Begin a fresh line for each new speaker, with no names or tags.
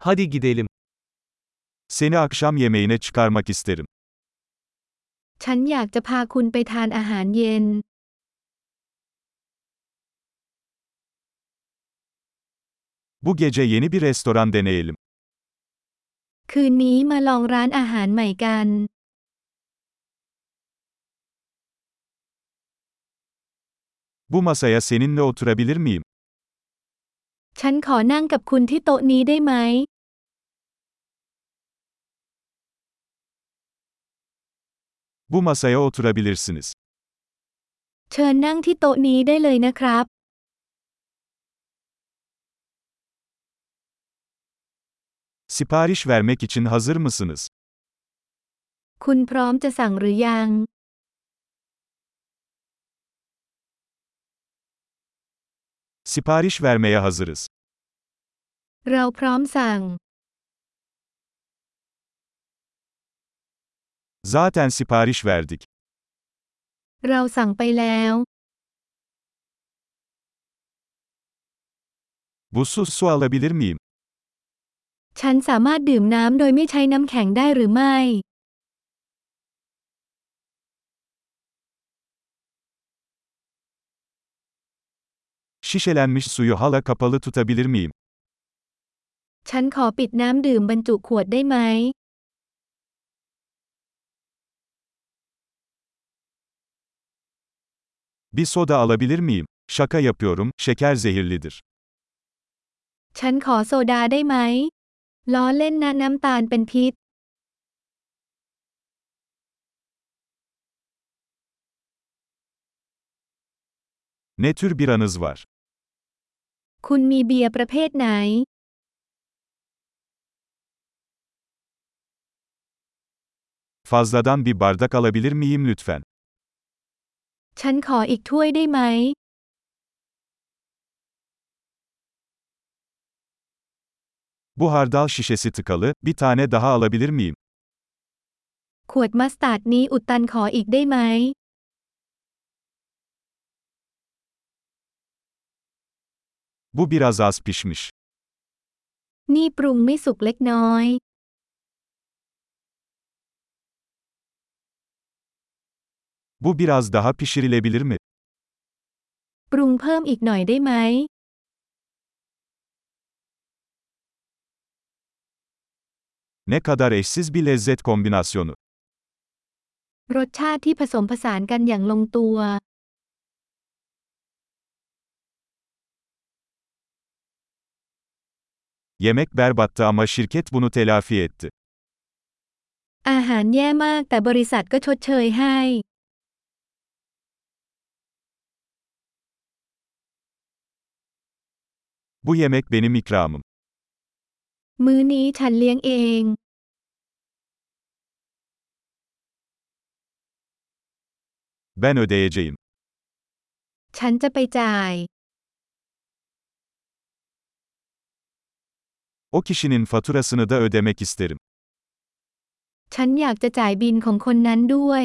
Hadi gidelim.
Seni akşam yemeğine çıkarmak isterim.
ฉันอยากจะพาคุณไปทานอาหารเย็น
Bu gece yeni bir restoran deneyelim.
คืนนี้มาลองร้านอาหารใหม่กัน
Bu masaya seninle oturabilir miyim?
ฉันขอนั่งกับคุณที่โต๊ะนี้ได้ไหม
Bu masaya oturabilirsiniz.
เชิญนั่งที่โต๊ะนี้ได้เลยนะครับ
Sipariş vermek için hazır mısınız?
คุณพร้อมจะสั่งหรือยัง
Sipariş vermeye hazırız.
เราพร้อมสั่ง
Zaten sipariş verdik.
เราสั่งไปแล้ว
Buzsuz su alabilir miyim?
ฉันสามารถดื่มน้ำโดยไม่ใช้น้ำแข็งได้หรือไม่
Şişelenmiş suyu hala kapalı tutabilir miyim?
ฉันขอปิดน้ำดื่มบรรจุขวดได้ไหม
Bir soda alabilir miyim? Şaka yapıyorum, şeker zehirlidir.
ฉันขอโซดาได้ไหม ล้อเล่นนะน้ำตาลเป็นพิษ
Ne tür bir anız var?
คุณมีเบียร์ประเภทไหน
Fazladan bir bardak alabilir miyim lütfen?
ฉันขออีกถ้วยได้ไหม
Bu hardal şişesi tıkalı, bir tane daha alabilir miyim?
ขวดมัสตาร์ดนี้อุดตันขออีกได้ไหม
Bu biraz az pişmiş.
นี่ปรุงไม่สุกเล็กน้อย
Bu biraz daha pişirilebilir mi?
ปรุงเพิ่มอีกหน่อยได้ไหม
Ne kadar eşsiz bir lezzet kombinasyonu.
รสชาติที่ผสมผสานกันอย่างลงตัว
Yemek berbattı ama şirket bunu telafi etti.
อาหารแย่มากแต่บริษัทก็ชดเชยให้
Bu yemek benim ikramım.
มื้อนี้ฉันเลี้ยงเอง
Ben ödeyeceğim.
ฉันจะไปจ่าย
O kişinin faturasını da ödemek isterim.
ฉันอยากจะจ่ายบินของคนนั้นด้วย